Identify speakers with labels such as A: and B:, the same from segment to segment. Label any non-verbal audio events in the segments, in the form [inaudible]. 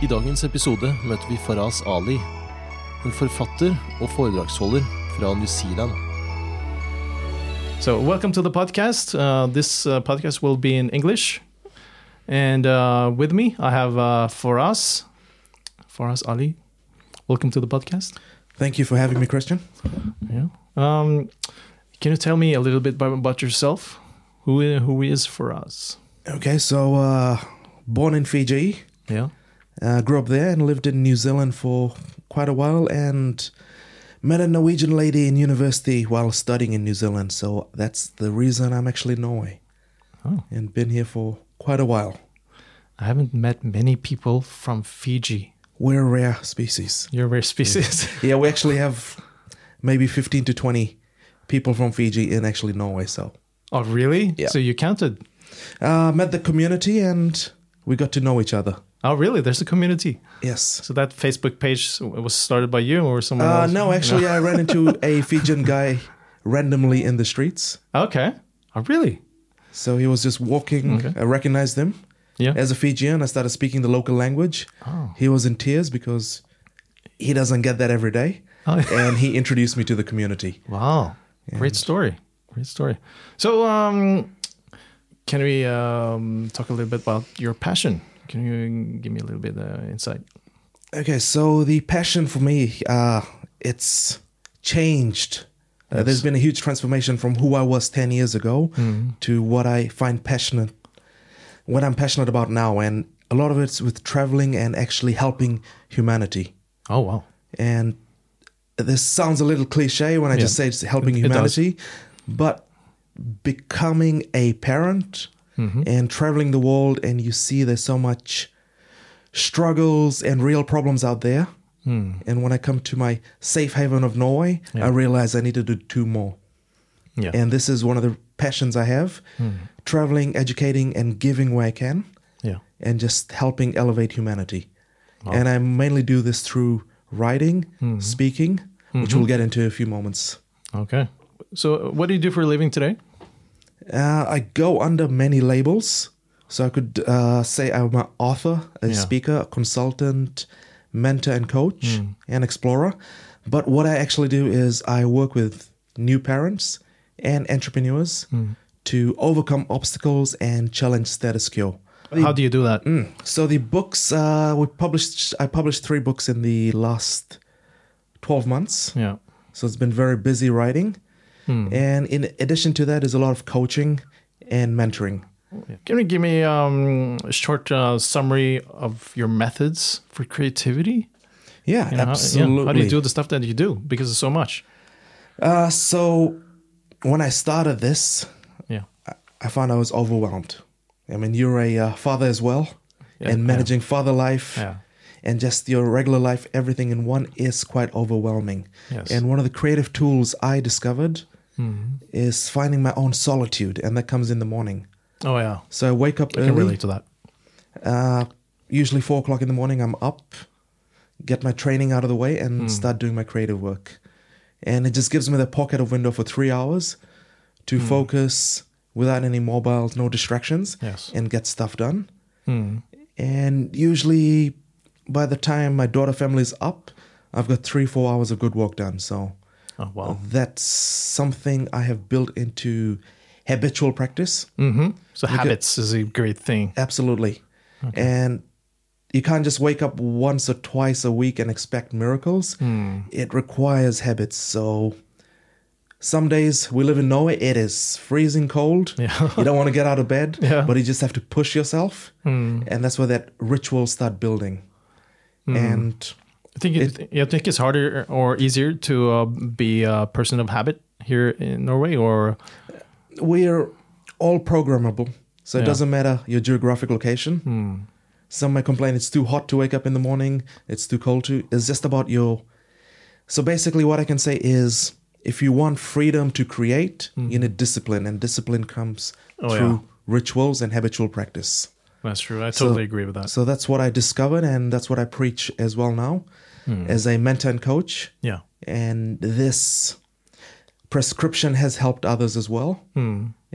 A: I dagens episode møter vi Faraz Ali, en forfatter og foredragsholder fra New Zealand.
B: So, welcome to the podcast. Uh, this uh, podcast will be in English. And uh, with me, I have uh, Faraz. Faraz Ali. Welcome to the podcast.
C: Thank you for having me, Christian.
B: Yeah. Um, can you tell me a little bit about, about yourself? Who i- who is Faraz?
C: Okay, so uh, born in Fiji,
B: Yeah.
C: uh, grew up there, and lived in New Zealand for quite a while, and met a Norwegian lady in university while studying in New Zealand. So that's the reason I'm actually in Norway,
B: Oh.
C: and been here for quite a while.
B: I haven't met many people from Fiji.
C: We're a rare species.
B: You're a rare species.
C: Yeah, we actually have maybe 15 to 20 people from Fiji in actually Norway. So
B: [laughs] oh, really?
C: Yeah.
B: So you counted?
C: uh, met the community, and we got to know each other.
B: Oh, really? There's a community.
C: Yes.
B: So that Facebook page was started by you or someone
C: Uh,
B: else?
C: no, actually, I ran
B: [laughs]
C: into a Fijian guy randomly in the streets.
B: Okay. Oh, really?
C: So he was just walking.
B: Okay.
C: I recognized him
B: Yeah.
C: as a Fijian. I started speaking the local language.
B: Oh.
C: He was in tears because he doesn't get that every day.
B: Oh.
C: and he introduced me to the community.
B: Wow. Great story. Great story. So, um, can we um, talk a little bit about your passion? Can you give me a little bit uh, insight?
C: Okay, so the passion for me, uh, it's changed. Uh, there's been a huge transformation from who I was 10 years ago to what I find passionate, what I'm passionate about now. And a lot of it's with traveling and actually helping humanity.
B: Oh, wow.
C: And this sounds a little cliche when I just
B: Yeah.
C: say it's helping
B: It- it does.
C: humanity, but becoming a parent
B: Mm-hmm.
C: and traveling the world, and you see there's so much struggles and real problems out there.
B: Hmm.
C: And when I come to my safe haven of Norway, I realize I need to do two more.
B: Yeah.
C: And this is one of the passions I have
B: Hmm.
C: traveling, educating, and giving where I can
B: yeah.
C: and just helping elevate humanity. And I mainly do this through writing, speaking, which we'll get into in a few moments.
B: Okay. So, what do you do for a living today?
C: Uh, I go under many labels. So I could uh, say I'm an author, a
B: Yeah.
C: speaker, a consultant, mentor, and coach, and explorer. But what I actually do is I work with new parents and entrepreneurs to overcome obstacles and challenge status quo.
B: How do you do that?
C: So the books uh, we published. I published three books in the last twelve months.
B: Yeah.
C: So it's been very busy writing,
B: Hmm.
C: and in addition to that, is a lot of coaching and mentoring.
B: Can you give me um, a short uh, summary of your methods for creativity?
C: Yeah,
B: You know, how- yeah,
C: absolutely.
B: How do you do the stuff that you do? Because it's so much.
C: Uh, so when I started this,
B: Yeah.
C: I- I found I was overwhelmed. I mean, you're a uh, father as well,
B: Yeah,
C: and
B: yeah.
C: managing father life
B: Yeah.
C: and just your regular life, everything in one is quite overwhelming.
B: Yes. Mm-hmm.
C: And one of the creative tools I discovered is finding my own solitude, and that comes in the morning.
B: Oh, yeah.
C: So I wake up
B: I
C: early.
B: can relate to that.
C: Uh, usually four o'clock in the morning, I'm up, get my training out of the way, and
B: Hmm.
C: start doing my creative work. And it just gives me that pocket of window for three hours
B: Hmm.
C: to focus without any mobiles, no distractions,
B: Yes.
C: and get stuff done.
B: Mm.
C: And usually by the time my daughter family's up, I've got three, four hours of good work done. So
B: Oh, wow.
C: that's something I have built into habitual practice.
B: hmm So, habits is a great thing.
C: Absolutely. And you can't just wake up once or twice a week and expect miracles.
B: Hmm.
C: It requires habits. So some days we live in Norway, it is freezing cold.
B: Yeah.
C: [laughs] you don't want to get out of bed,
B: Yeah. Hmm.
C: but you just have to push yourself. And that's where that rituals start building. And
B: I think it, you think it's harder or easier to uh, be a person of habit here in Norway, or
C: we're all programmable. So it
B: Yeah. Hmm.
C: doesn't matter your geographic location. Some might complain it's too hot to wake up in the morning, it's too cold to. It's just about your. So basically, what I can say is if you want freedom to create, you need discipline, and discipline comes
B: Mm-hmm. Oh,
C: through
B: yeah.
C: rituals and habitual practice.
B: that's true. I totally agree with that.
C: So that's what I discovered, and that's what I preach as well now
B: Hmm.
C: as a mentor and coach
B: yeah,
C: and this prescription has helped others as well.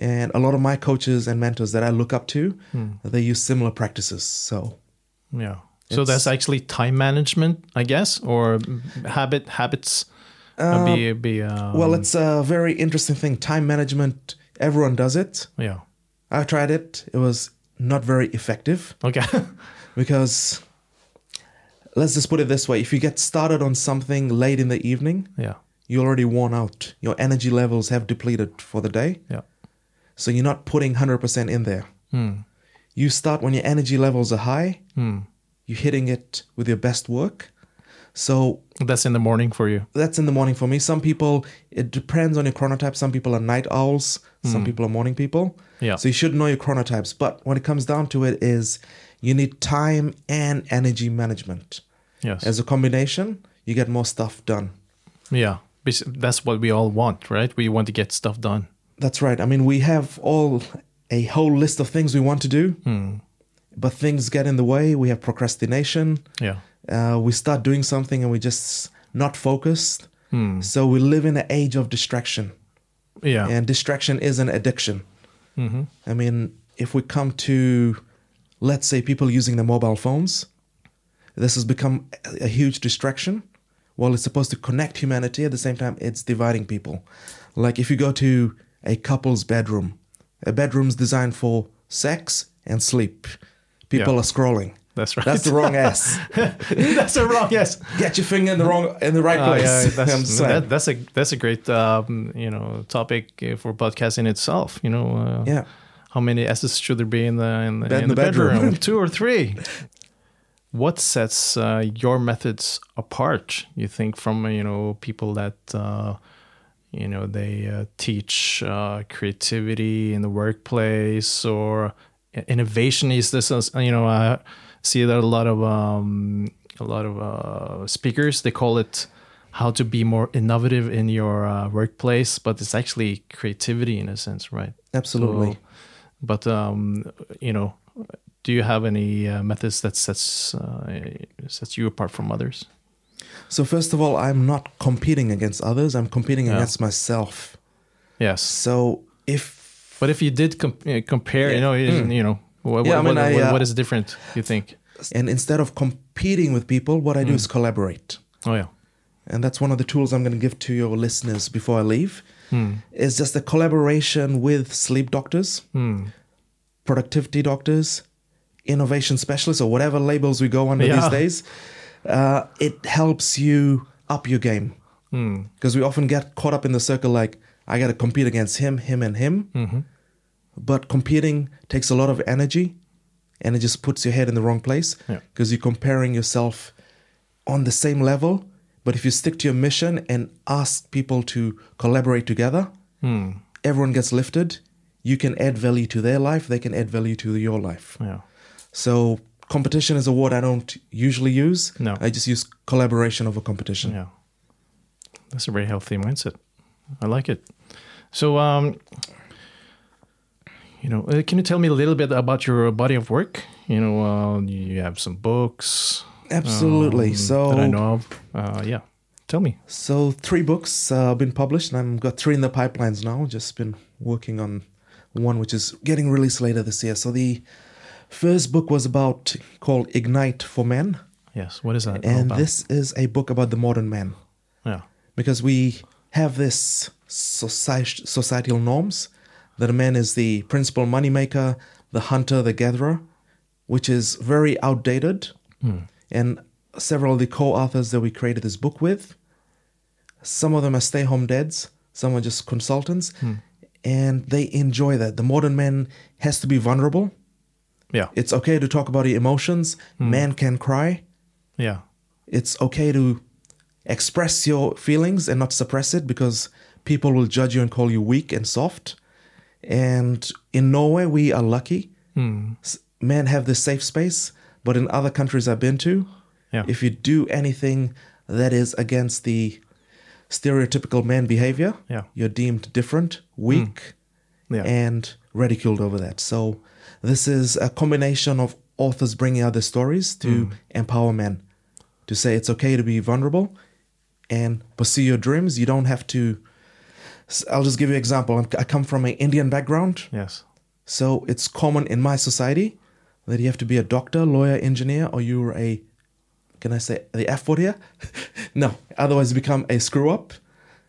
C: And a lot of my coaches and mentors that I look up to, they use similar practices. So
B: yeah. So
C: It's-
B: that's actually time management, I guess, or habit habits. Uh, be be um,
C: well, it's a very interesting thing. Time management, everyone does it.
B: yeah.
C: I've tried it. It was not very effective
B: Okay. [laughs]
C: because let's just put it this way if you get started on something late in the evening,
B: yeah.
C: you're already worn out. Your energy levels have depleted for the day.
B: Yeah.
C: So you're not putting 100% in there. You start when your energy levels are high, you're hitting it with your best work. So
B: That's in the morning for you.
C: that's in the morning for me. Some people, it depends on your chronotype. Some people are night owls, some people are morning people.
B: Yeah.
C: So you should know your chronotypes. But when it comes down to it, is you need time and energy management.
B: Yes.
C: As a combination, you get more stuff done.
B: yeah. Bes- That's what we all want, right? We want to get stuff done.
C: That's right. I mean, we have all a whole list of things we want to do, but things get in the way. We have procrastination.
B: Yeah.
C: Uh, we start doing something and we just not focused. So we live in an age of distraction,
B: Yeah.
C: and distraction is an addiction.
B: Mm-hmm.
C: I mean, if we come to, let's say, people using their mobile phones, this has become a- a huge distraction. While it's supposed to connect humanity, at the same time, it's dividing people. Like if you go to a couple's bedroom, a bedroom's designed for sex and sleep. People
B: Yeah.
C: are scrolling.
B: That's right.
C: That's the wrong
B: [laughs]
C: ass.
B: [laughs] that's a wrong. Yes.
C: Get your finger in the wrong in the right
B: Oh,
C: place. [laughs]
B: yeah,
C: I'm
B: that's,
C: saying.
B: that- that's a that's a great um, you know topic uh, for podcast in itself. You know, uh,
C: Yeah.
B: How many S's should there be in the in the,
C: Bed
B: in the bedroom? Two or three. What sets uh, your methods apart? You think from uh, you know people that uh, you know they uh, teach uh, creativity in the workplace or i- innovation is this is, you know I see that a lot of um, a lot of uh, speakers they call it how to be more innovative in your uh, workplace but it's actually creativity in a sense right
C: Absolutely.
B: So- but um, you know do you have any uh, methods that sets uh, sets you apart from others
C: So first of all, I'm not competing against others. I'm competing
B: Yeah.
C: against myself.
B: yes
C: So if
B: But if you did com- uh, compare, you
C: Yeah.
B: know,
C: Hmm.
B: you- you know, what,
C: Yeah, I
B: what,
C: mean,
B: what-
C: I,
B: what-
C: uh,
B: what is different? You think?
C: and instead of competing with people, what
B: Hmm.
C: I do is collaborate.
B: Oh yeah,
C: And that's one of the tools I'm going to give to your listeners before I leave.
B: Hmm.
C: Is just a collaboration with sleep doctors,
B: Hmm.
C: productivity doctors, innovation specialists, or whatever labels we go under
B: Yeah.
C: these days. Uh, it helps you up your game
B: Hmm.
C: because we often get caught up in the circle like I got to compete against him, him, and him. But competing takes a lot of energy, and it just puts your head in the wrong place
B: Yeah.
C: because you're comparing yourself on the same level. But if you stick to your mission and ask people to collaborate together,
B: Hmm.
C: everyone gets lifted. You can add value to their life; they can add value to your life.
B: yeah,
C: So competition is a word I don't usually use.
B: No.
C: I just use collaboration over competition.
B: yeah. That's a very healthy mindset. I like it. So, um, you know, uh, can you tell me a little bit about your body of work? You know, uh, you have some books
C: Absolutely.
B: um,
C: so
B: that I know of. Uh, yeah, tell me.
C: So three books uh, have been published, and I've got three in the pipelines now. Just been working on one, which is getting released later this year. So the first book was about called Ignite for Men,
B: Yes, what is that? all
C: and
B: about?
C: this is a book about the modern man
B: yeah,
C: because we have this soci- societal norms that a man is the principal moneymaker, the hunter, the gatherer, which is very outdated. And several of the co-authors that we created this book with, some of them are stay-home dads, some are just consultants, and they enjoy that. The modern man has to be vulnerable.
B: yeah,
C: It's okay to talk about your emotions. Man can cry
B: yeah,
C: it's okay to express your feelings and not suppress it because people will judge you and call you weak and soft. And in Norway, we are lucky.
B: Hmm.
C: S- Men have this safe space, but in other countries I've been to,
B: Yeah.
C: if you do anything that is against the stereotypical man behavior,
B: Yeah. Hmm.
C: you're deemed different, weak,
B: yeah.
C: and ridiculed over that. So this is a combination of authors bringing out their stories to empower men to say it's okay to be vulnerable and pursue your dreams. You don't have to. s- I'll just give you an example. I'm- I come from an Indian background,
B: yes,
C: so it's common in my society that you have to be a doctor, lawyer, engineer, or you're a can I say the F word here? [laughs] no, otherwise you become a screw up.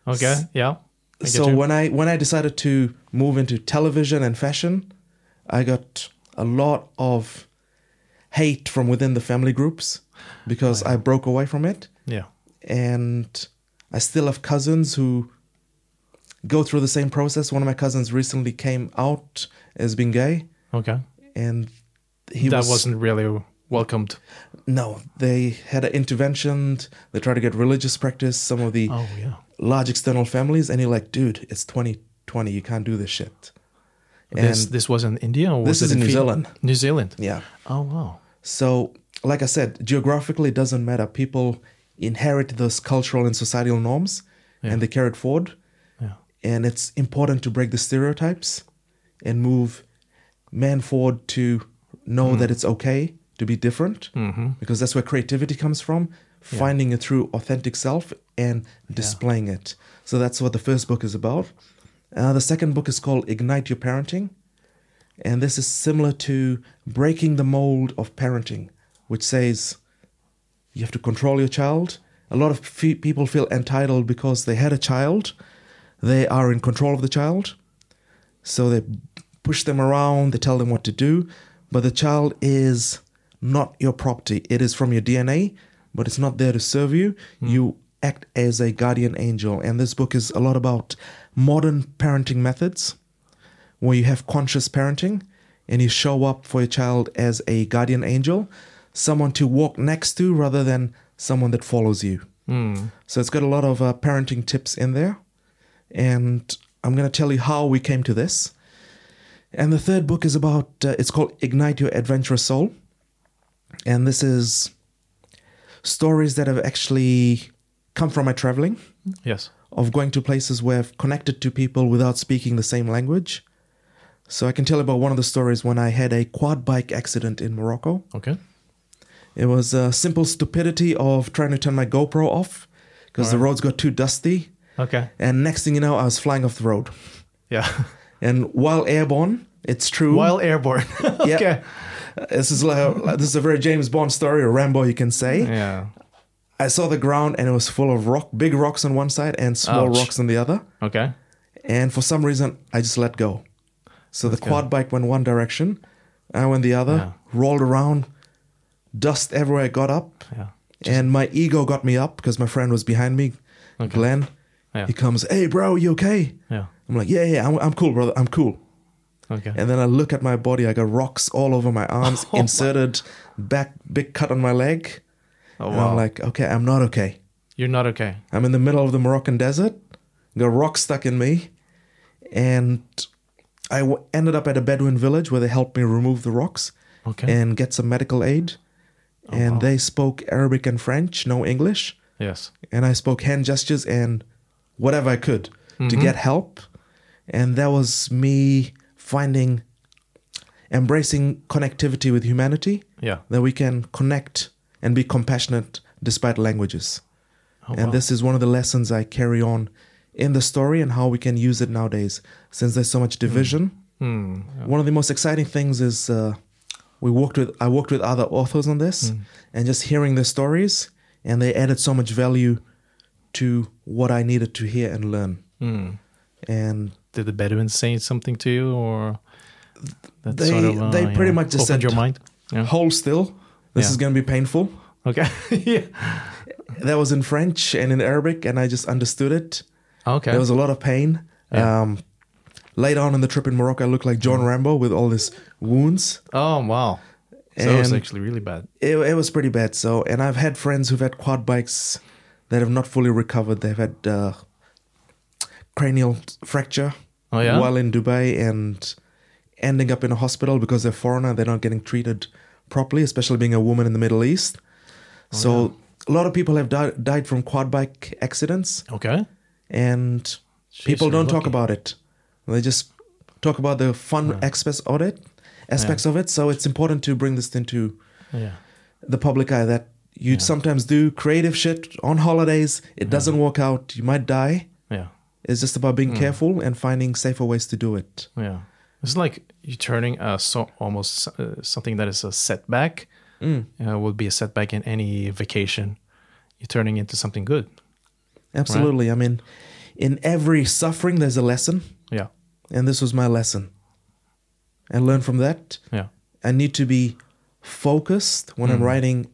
B: Okay. Yeah. I get
C: so
B: you.
C: when I when I decided to move into television and fashion, I got a lot of hate from within the family groups because I broke away from it
B: yeah.
C: and I still have cousins who go through the same process. One of my cousins recently came out as being gay,
B: Okay.
C: and he
B: that
C: was,
B: was... not really welcomed.
C: no. They had an intervention. They tried to get religious practice. Some of the
B: Oh yeah.
C: large external families, and you're like, dude, it's 2020. You can't do this shit. And
B: this this was in India. Or
C: This
B: was
C: is
B: it
C: in New
B: Fin-
C: Zealand.
B: New Zealand.
C: yeah,
B: Oh wow.
C: So, like I said, geographically it doesn't matter. People inherit those cultural and societal norms and they carry it forward.
B: Yeah.
C: And it's important to break the stereotypes and move man forward to know that it's okay to be different because that's where creativity comes from finding your true authentic self and displaying it. So, that's what the first book is about. Uh, the second book is called Ignite Your Parenting. And this is similar to breaking the mold of parenting, which says you have to control your child. A lot of fe- people feel entitled because they had a child, they are in control of the child. So they push them around, they tell them what to do. But the child is not your property, it is from your DNA, but it's not there to serve you. You act as a guardian angel. And this book is a lot about modern parenting methods where you have conscious parenting and you show up for your child as a guardian angel, someone to walk next to rather than someone that follows you. So it's got a lot of uh, parenting tips in there. And I'm going to tell you how we came to this. And the third book is about, uh, it's called Ignite Your Adventurous Soul. And this is stories that have actually come from my traveling
B: Yes.
C: of going to places where I've connected to people without speaking the same language. So I can tell about one of the stories when I had a quad bike accident in Morocco.
B: Okay.
C: It was a simple stupidity of trying to turn my GoPro off because the roads got too dusty.
B: Okay.
C: And next thing you know, I was flying off the road.
B: Yeah. [laughs]
C: And while airborne, it's true.
B: While airborne. [laughs]
C: Yeah.
B: okay.
C: this is like, a- like- this is a very James Bond story or Rambo, you can say.
B: Yeah.
C: I saw the ground and it was full of rock, big rocks on one side and small
B: Ouch.
C: rocks on the other.
B: Okay.
C: and for some reason I just let go. So the quad bike went one direction, I went the other,
B: Yeah.
C: rolled around, dust everywhere. I got up,
B: Yeah.
C: and my ego got me up because my friend was behind me, Glenn.
B: Yeah.
C: He comes, hey bro, you okay?
B: Yeah.
C: I'm like, yeah, yeah, I'm, I'm cool, brother, I'm cool.
B: Okay.
C: And then I look at my body, I got rocks all over
B: [laughs]
C: my arms,
B: Oh my-
C: inserted back, big cut on my leg.
B: oh
C: and
B: wow.
C: I'm like, okay, I'm not okay.
B: You're not okay.
C: I'm in the middle of the Moroccan desert, got rocks stuck in me, and I w- ended up at a Bedouin village where they helped me remove the rocks
B: Okay.
C: and get some medical aid. and they spoke Arabic and French, no English.
B: yes.
C: And I spoke hand gestures and whatever I could to get help. And that was me finding, embracing connectivity with humanity
B: Yeah.
C: that we can connect and be compassionate despite languages.
B: Oh,
C: and
B: wow.
C: this is one of the lessons I carry on in the story and how we can use it nowadays since there's so much
B: Hmm.
C: division. One of the most exciting things is uh, we worked with I worked with other authors on this
B: Hmm.
C: and just hearing their stories and they added so much value to what I needed to hear and learn.
B: Hmm.
C: And
B: Did the Bedouins say something to you, or that
C: They- they
B: you
C: pretty much just
B: opened
C: said-
B: your mind? Yeah.
C: hold still. This
B: Yeah.
C: is going to be painful.
B: Okay. [laughs] yeah.
C: That was in French and in Arabic, and I just understood it.
B: Okay.
C: There was a lot of pain. Um, later on in the trip in Morocco, I looked like
B: Mm.
C: John Rambo with all these wounds.
B: oh wow. So it was
C: And-
B: actually really bad.
C: It, it was pretty bad. So, and I've had friends who've had quad bikes that have not fully recovered. They've had uh, cranial fracture
B: Oh, yeah?
C: while in Dubai and ending up in a hospital because they're foreigner. They're not getting treated properly, especially being a woman in the Middle East.
B: Oh,
C: so, a lot of people have died died from quad bike accidents
B: Okay.
C: and people
B: you're
C: don't talk
B: lucky.
C: about it. They just talk about the fun aspects of it, aspects of it. So it's important to bring this into
B: Yeah.
C: the public eye that you sometimes do creative shit on holidays. It doesn't work out. You might die.
B: Yeah.
C: It's just about being careful and finding safer ways to do it.
B: Yeah. It's like you turning uh, so almost uh, something that is a setback
C: Mm.
B: uh, would be a setback in any vacation. You're turning into something good.
C: Absolutely. I mean, in every suffering, there's a lesson,
B: Yeah,
C: and this was my lesson. And learn from that.
B: yeah,
C: I need to be focused when I'm
B: Hmm.
C: writing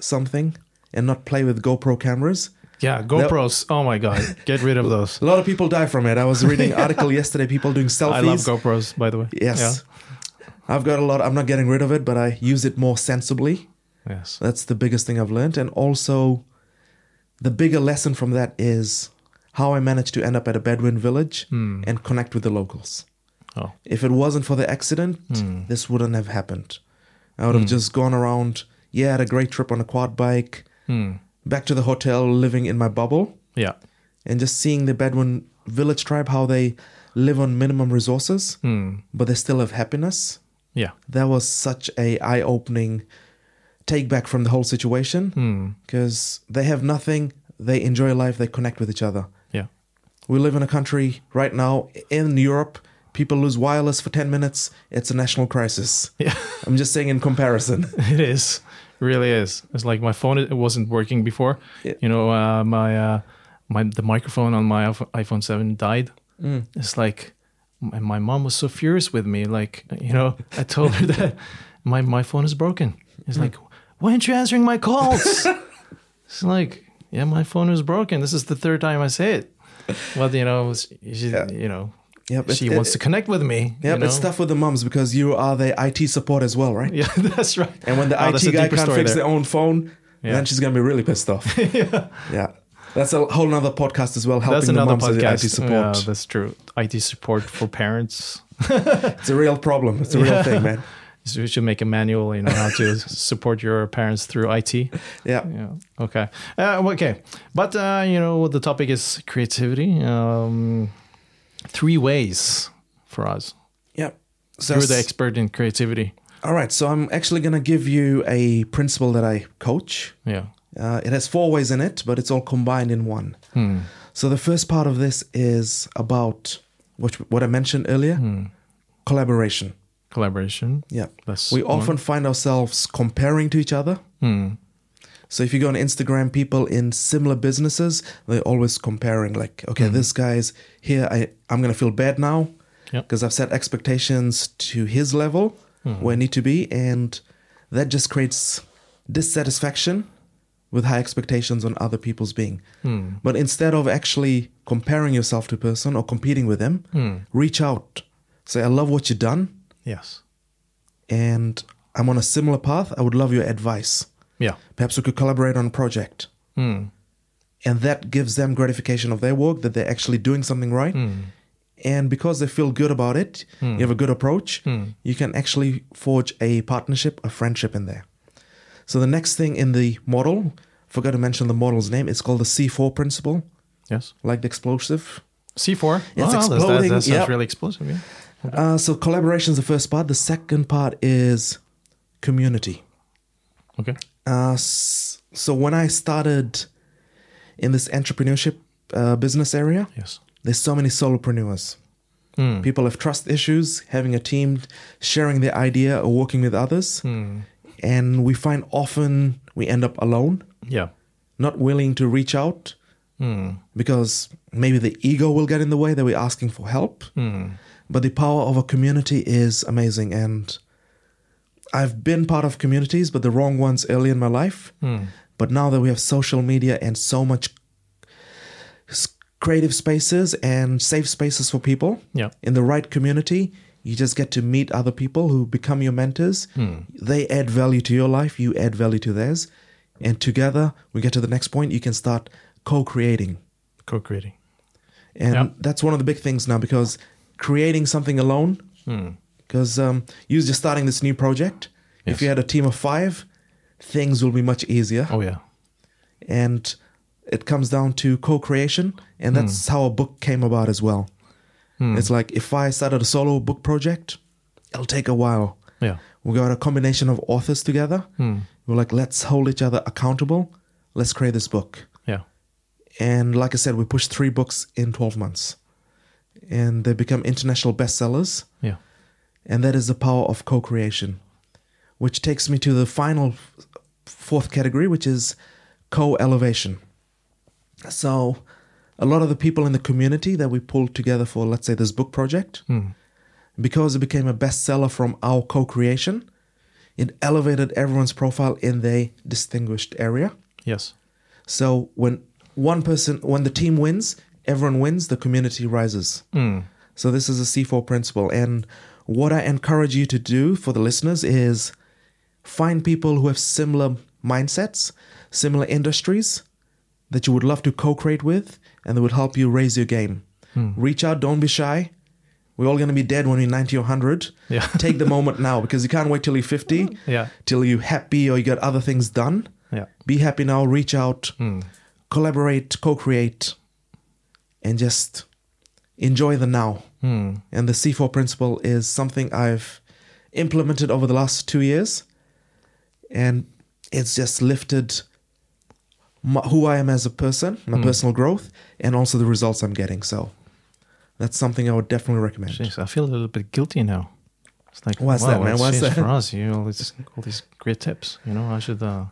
C: something and not play with GoPro cameras.
B: yeah. GoPros. Oh my god, get rid
C: [laughs]
B: of those.
C: A lot of people die from it. I was
B: [laughs]
C: reading an article yesterday, people doing selfies.
B: I love GoPros, by the way.
C: Yes. I've got a lot. I'm not getting rid of it, but I use it more sensibly.
B: Yeah. Yes.
C: That's the biggest thing I've learned. And also, the bigger lesson from that is how I managed to end up at a Bedouin village
B: Hmm.
C: and connect with the locals.
B: Oh,
C: If it wasn't for the accident, this wouldn't have happened. I would have just gone around, yeah, had a great trip on a quad bike, back to the hotel, living in my bubble,
B: yeah.
C: and just seeing the Bedouin village tribe, how they live on minimum resources, but they still have happiness
B: Yeah.
C: that was such a eye-opening take back from the whole situation because they have nothing they enjoy life they connect with each other
B: Yeah.
C: we live in a country right now in europe people lose wireless for 10 minutes it's a national crisis
B: Yeah. [laughs]
C: i'm just saying in comparison
B: It is. It really is. It's like my phone it wasn't working before.
C: Yeah.
B: You know, uh, my uh, my the microphone on my iPhone- iPhone 7 died.
C: Mm.
B: It's like and my mom was so furious with me like, you know, I told her that [laughs] my my phone is broken.
C: Mm.
B: It's like, "Why aren't you answering my
C: [laughs]
B: calls?" it's like, "Yeah, my phone is broken. This is the third time I say it." Well, you know, she, you know,
C: Yep, it-
B: she
C: it-
B: wants to connect with me.
C: yeah
B: you
C: but it's
B: know?
C: tough with the mums because you are the it support as well right
B: [laughs] Yeah, that's right.
C: and when the
B: Oh, that's a
C: it guy
B: deeper
C: can't
B: story
C: fix
B: there.
C: their own phone then she's gonna be really pissed
B: [laughs]
C: off yeah. that's a whole nother podcast as well helping
B: That's another
C: the mums with the it
B: podcast.
C: support
B: Yeah, that's true. IT support for parents.
C: it's a real problem it's a real thing man
B: [laughs] So you should make a manual, you know, how
C: [laughs]
B: to support your parents through IT.
C: yeah
B: Yeah. Okay. Uh, okay. But uh, you know, the topic is creativity. Um, three ways for us.
C: Yep. So,
B: You're the expert in creativity.
C: all right. So I'm actually going to give you a principle that I coach.
B: Yeah.
C: Uh, it has four ways in it, but it's all combined in one. So the first part of this is about what what I mentioned earlier, collaboration.
B: Collaboration.
C: Yeah.
B: That's
C: we
B: one. Hmm.
C: often find ourselves comparing to each other. So if you go on Instagram, people in similar businesses, they're always comparing. Like, okay,
B: Hmm.
C: this guy's here. I I'm gonna feel bad now
B: Yeah.
C: because I've set expectations to his level
B: Hmm.
C: where I need to be, and that just creates dissatisfaction with high expectations on other people's being.
B: Hmm.
C: But instead of actually comparing yourself to a person or competing with them,
B: Hmm.
C: reach out. Say, I love what you've done
B: Yes.
C: and I'm on a similar path, I would love your advice.
B: Yeah.
C: Perhaps we could collaborate on a project. And that gives them gratification of their work, that they're actually doing something right. And because they feel good about it, you have a good approach, you can actually forge a partnership, a friendship in there. So the next thing in the model, forgot to mention the model's name, it's called the C4 principle,
B: Yes.
C: like the explosive.
B: C four.
C: It's
B: that's- That,
C: exploding,
B: that sounds
C: yeah.
B: really explosive. Yeah.
C: Uh, so collaboration is the first part. The second part is community.
B: Okay.
C: Uh, s- so when I started in this entrepreneurship uh, business area,
B: Yes.
C: there's so many solopreneurs. People have trust issues, having a team, sharing their idea, or working with others, and we find often we end up alone,
B: Yeah.
C: not willing to reach out because maybe the ego will get in the way that we're asking for help. But the power of a community is amazing, and I've been part of communities, but the wrong ones early in my life. But now that we have social media and so much s- creative spaces and safe spaces for people
B: Yeah.
C: in the right community, you just get to meet other people who become your mentors. They add value to your life, you add value to theirs. And together, we get to the next point, you can start co creating.
B: Co-creating.
C: And
B: Yep.
C: that's one of the big things now because creating something alone,
B: Hmm.
C: because um, you're just starting this new project. If
B: Yes.
C: you had a team of five, things will be much easier.
B: Oh yeah.
C: And it comes down to co creation.
B: Hmm.
C: And that's how a book came about as well. It's like if I started a solo book project, it'll take a while.
B: Yeah.
C: We got a combination of authors together.
B: Hmm.
C: We're like, let's hold each other accountable. Let's create this book
B: Yeah.
C: and like I said, we pushed three books in 12 months, and they become international bestsellers.
B: Yeah.
C: and that is the power of co creation, which takes me to the final fourth category, which is co elevation. So, a lot of the people in the community that we pulled together for, let's say, this book project, because it became a bestseller from our co creation, it elevated everyone's profile in their distinguished area.
B: Yes.
C: So when one person, when the team wins, everyone wins, the community rises.
B: Hmm.
C: So this is a C4 principle. And what I encourage you to do for the listeners is find people who have similar mindsets, similar industries that you would love to co create with and that would help you raise your game.
B: Hmm.
C: Reach out, don't be shy. We're all going to be dead when we're 90 or 100.
B: Yeah.
C: Take the moment now because you can't wait till you're 50,
B: [laughs] Yeah.
C: till you're happy or you got other things done
B: Yeah.
C: be happy now reach out collaborate co-create and just enjoy the now and the c4 principle is something i've implemented over the last two years and it's just lifted my, who i am as a person my personal growth and also the results i'm getting so that's something i would definitely recommend
B: Jeez, I feel a little bit guilty now. It's like,
C: Why's
B: wow,
C: that, man?
B: it's
C: Why's
B: just
C: that?
B: for us, you know, all these, all these great tips. You know, I should, uh,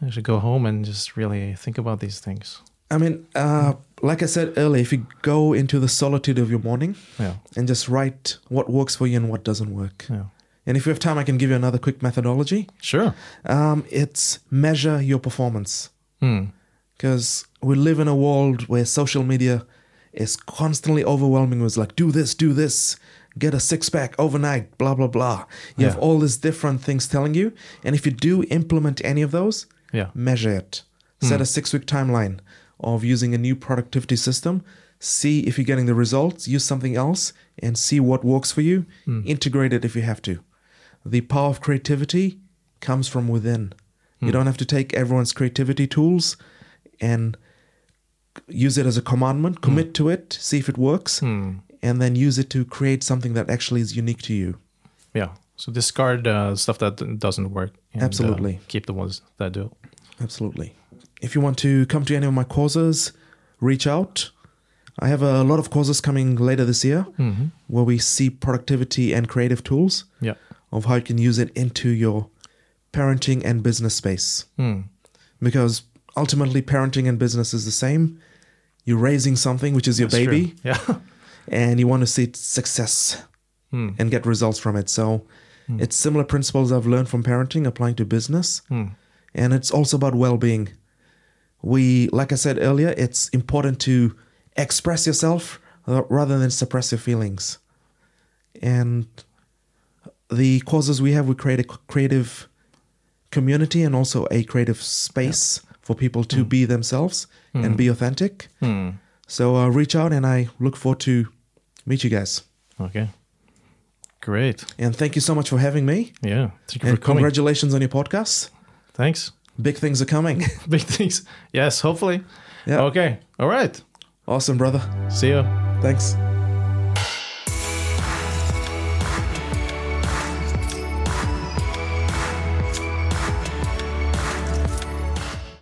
B: I should go home and just really think about these things.
C: i mean uh, like i said earlier if you go into the solitude of your morning
B: Yeah.
C: and just write what works for you and what doesn't work.
B: Yeah.
C: And if you have time, I can give you another quick methodology.
B: Sure.
C: Um, it's measure your performance
B: Hmm.
C: because we live in a world where social media is constantly overwhelming. It's like, do this, do this, get a six pack overnight, blah, blah, blah. You have
B: Yeah.
C: all these different things telling you. And if you do implement any of those,
B: Yeah.
C: measure it. Set a six week timeline of using a new productivity system. See if you're getting the results. Use something else and see what works for you. Integrate it if you have to. The power of creativity comes from within. You don't have to take everyone's creativity tools and use it as a commandment, commit to it, see if it works, and then use it to create something that actually is unique to you.
B: Yeah. So discard uh, stuff that d- doesn't work. And, uh,
C: Absolutely.
B: keep the ones that do.
C: Absolutely. If you want to come to any of my courses, reach out. I have a lot of courses coming later this year
B: Mm-hmm.
C: where we see productivity and creative tools
B: Yeah.
C: of how you can use it into your parenting and business space.
B: Hmm.
C: Because ultimately, parenting and business is the same. You're raising something, which is your
B: It's true.
C: baby,
B: Yeah. [laughs]
C: and you want to see its success
B: Hmm.
C: and get results from it. So it's similar principles I've learned from parenting applying to business. And it's also about well being. We, like I said earlier, it's important to express yourself uh, rather than suppress your feelings. And the causes we have, we create a c- creative community and also a creative space for people to be themselves and be authentic.
B: Hmm.
C: So uh, reach out, and I look forward to meet you guys.
B: Okay. Great.
C: And thank you so much for having me.
B: Yeah. Thank you
C: And
B: for coming.
C: congratulations on your podcast.
B: Thanks. [laughs]
C: Big things are coming.
B: Big things. Yes. Hopefully.
C: Yeah.
B: Okay. All right.
C: awesome, brother.
B: See you.
C: Thanks.